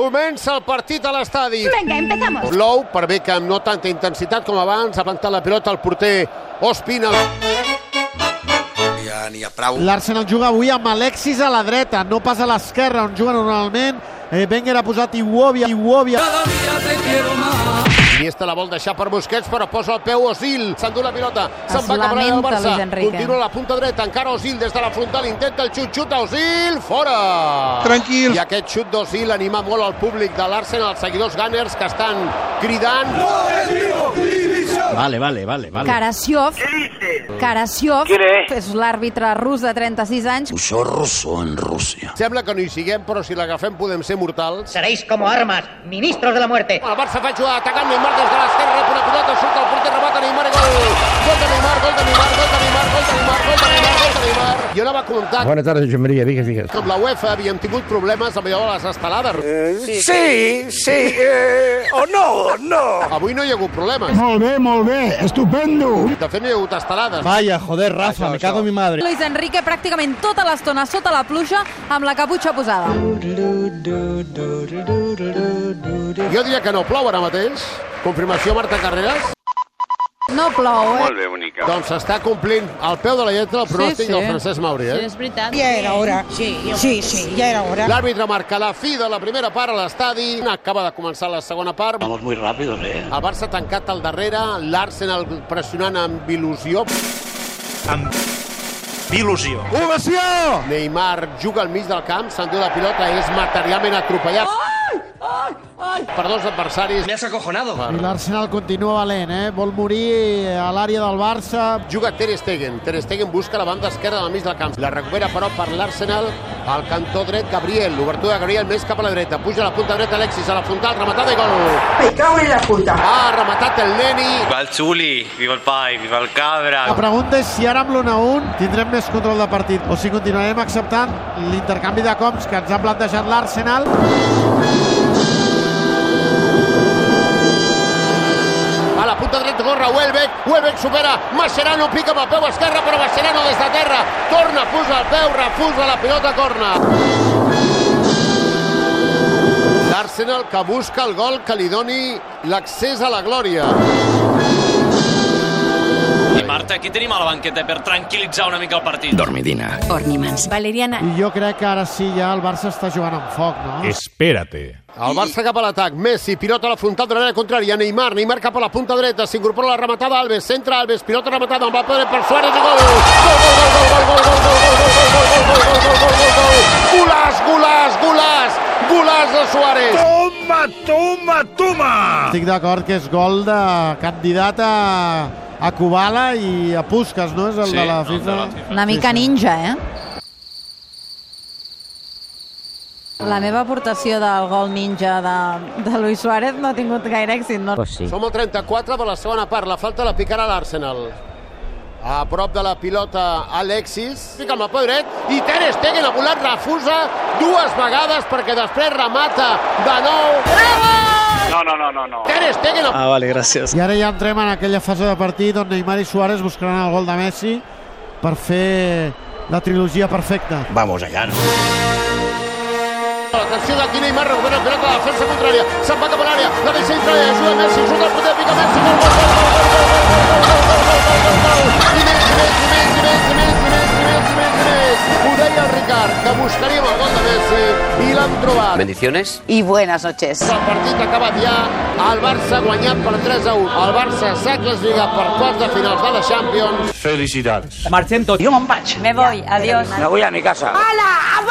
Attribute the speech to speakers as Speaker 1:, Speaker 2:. Speaker 1: Comença el partit a l'estadi.
Speaker 2: Venga, empezamos.
Speaker 1: Blou, per bé que amb no tanta intensitat com abans, ha plantat la pilota al porter Ospina.
Speaker 3: Ja n'hi ha prou.
Speaker 4: L'Arsenal juga avui amb Alexis a la dreta, no pas a l'esquerra on juga normalment. Eh, Wenger ha posat Iwobia, Iwobia.
Speaker 1: Iniesta la vol deixar per Busquets, però posa el peu Osil. S'endú la pilota, se'n va cap a l'àrea del
Speaker 2: lamenta,
Speaker 1: Barça.
Speaker 2: Luis Enrique.
Speaker 1: Continua a la punta dreta, encara Osil des de la frontal, intenta el xut, xut, Osil, fora!
Speaker 5: Tranquil.
Speaker 1: I aquest xut d'Osil anima molt el públic de l'Arsenal, els seguidors Gunners que estan cridant.
Speaker 4: Vale, vale, vale, vale.
Speaker 2: Karasiov. Karasiov és l'àrbitre rus de 36 anys.
Speaker 3: Això russo en Rússia.
Speaker 1: Sembla que no hi siguem, però si l'agafem podem ser mortals.
Speaker 6: Seréis como armas, ministros de la muerte.
Speaker 1: El Barça fa jugar atacant Neymar des de l'esquerra, rep una pilota, surt al porter, remata Neymar i gol! Gol de Neymar, gol de Neymar, gol de Neymar, gol de Neymar, gol de Neymar, gol de Neymar. Jo anava a comentar
Speaker 7: Buenas tardes, Josep María. Digues, digues.
Speaker 1: com la UEFA havíem tingut problemes amb allò de les estelades.
Speaker 7: Eh.
Speaker 5: Sí, sí, eh, o no, no.
Speaker 1: Avui no hi ha hagut problemes.
Speaker 7: Molt bé, molt bé. Estupendo.
Speaker 1: De fet, no hi ha hagut estelades.
Speaker 4: Vaya, joder, Rafa, me cago en mi madre.
Speaker 2: Luis Enrique pràcticament tota l'estona sota la pluja amb la caputxa posada.
Speaker 1: Jo diria que no plou ara mateix. Confirmació, Marta Carreras.
Speaker 2: No plou, eh?
Speaker 8: bé, bonica.
Speaker 1: Doncs s'està complint al peu de la lletra el pronòstic
Speaker 2: sí.
Speaker 1: del Francesc Mauri, eh?
Speaker 9: Ya era hora. Sí, sí, sí, ya era hora.
Speaker 1: L'àrbitre marca la fi de la primera part a l'estadi. Acaba de començar la segona part. Vamos muy rápido, eh? El Barça tancat al darrere, l'Arsenal pressionant amb il·lusió.
Speaker 5: Il·lusió.
Speaker 4: Ovació!
Speaker 1: Neymar juga al mig del camp, s'endú la pilota, és materialment atropellat. Ai, ai, ai. Per dos adversaris.
Speaker 5: has acojonado.
Speaker 4: I l'Arsenal continua valent, eh? Vol morir a l'àrea del Barça.
Speaker 1: Juga Ter Stegen. Ter Stegen busca la banda esquerra del mig del camp. La recupera, però, per l'Arsenal al cantó dret Gabriel. L'obertura de Gabriel més cap a la dreta. Puja a la punta dreta Alexis a la frontal, rematada i gol.
Speaker 9: Me cago en la puta.
Speaker 1: Ha rematat el Neni.
Speaker 8: Viva el Zuli, viva el Pai, viva el Cabra.
Speaker 4: La pregunta és si ara amb l'1-1 tindrem més control de partit o si continuarem acceptant l'intercanvi de cops que ens ha plantejat l'Arsenal.
Speaker 1: A la punta dreta corre Welbeck, Welbeck supera, Mascherano pica amb el peu esquerre, però Mascherano des de terra torna, posa el peu, refusa la pilota, corna. L'Arsenal que busca el gol que li doni l'accés a la glòria.
Speaker 10: I Marta, aquí tenim a la banqueta per tranquil·litzar una mica el partit.
Speaker 3: Dormidina.
Speaker 2: Orniments. Valeriana.
Speaker 4: I jo crec que ara sí ja el Barça està jugant amb foc, no?
Speaker 7: Espérate.
Speaker 1: El Barça cap a l'atac, Messi pilota a la frontal de l'àrea contrària, Neymar, Neymar cap a la punta dreta, s'incorpora la rematada, Alves, centra Alves, pilota rematada, amb el poder per Suárez i gol! Gol, gol, gol, gol, gol, gol, gol, gol, gol, gol, gol, gol, gol, gol, gol, gol, gol, Golàs, golàs, golàs, golàs de Suárez!
Speaker 5: Toma, toma, toma.
Speaker 4: Estic d'acord que és gol de candidat a, a Kubala i a Puskas, no? És el
Speaker 10: Sí,
Speaker 4: de la
Speaker 10: el de
Speaker 4: FIFA.
Speaker 10: la FIFA.
Speaker 2: Una mica
Speaker 4: Sí, sí.
Speaker 2: ninja, eh? La meva aportació del gol ninja de, de Luis Suárez no ha tingut gaire èxit, no?
Speaker 6: Pues sí.
Speaker 1: Som al 34 per la segona part. La falta la picarà l'Arsenal. A prop de la pilota Alexis. Fica amb el peu dret i Ter Stegen ha volat refusa dues vegades perquè després remata de nou.
Speaker 8: No, no, no, no, no.
Speaker 1: Ter Stegen a...
Speaker 4: I ara ja entrem en aquella fase de partit on Neymar i Suárez buscaran el gol de Messi per fer la trilogia perfecta.
Speaker 3: Vamos allá.
Speaker 1: L'atenció d'aquí Neymar recupera la pilota de la defensa contrària. Se'n va cap a l'àrea. La deixa entrar i ajuda Messi. Surt el poder, pica Messi. Gol, gol, gol, gol, gol, gol, gol, gol, gol, gol, gol, gol, gol, gol. I més, i més, i més, i més, i més, i més, i més, i més, i més. Ho deia el Ricard, que buscaríem el gol de Messi i l'han trobat.
Speaker 3: Bendiciones.
Speaker 9: Y buenas noches.
Speaker 1: El partit ha acabat ja, el Barça ha guanyat per 3 a 1. El Barça s'ha classificat per quarts de finals de la Champions.
Speaker 5: Felicidades.
Speaker 9: Me voy, adiós.
Speaker 3: Me voy a mi casa.
Speaker 9: ¡Hala! ¡A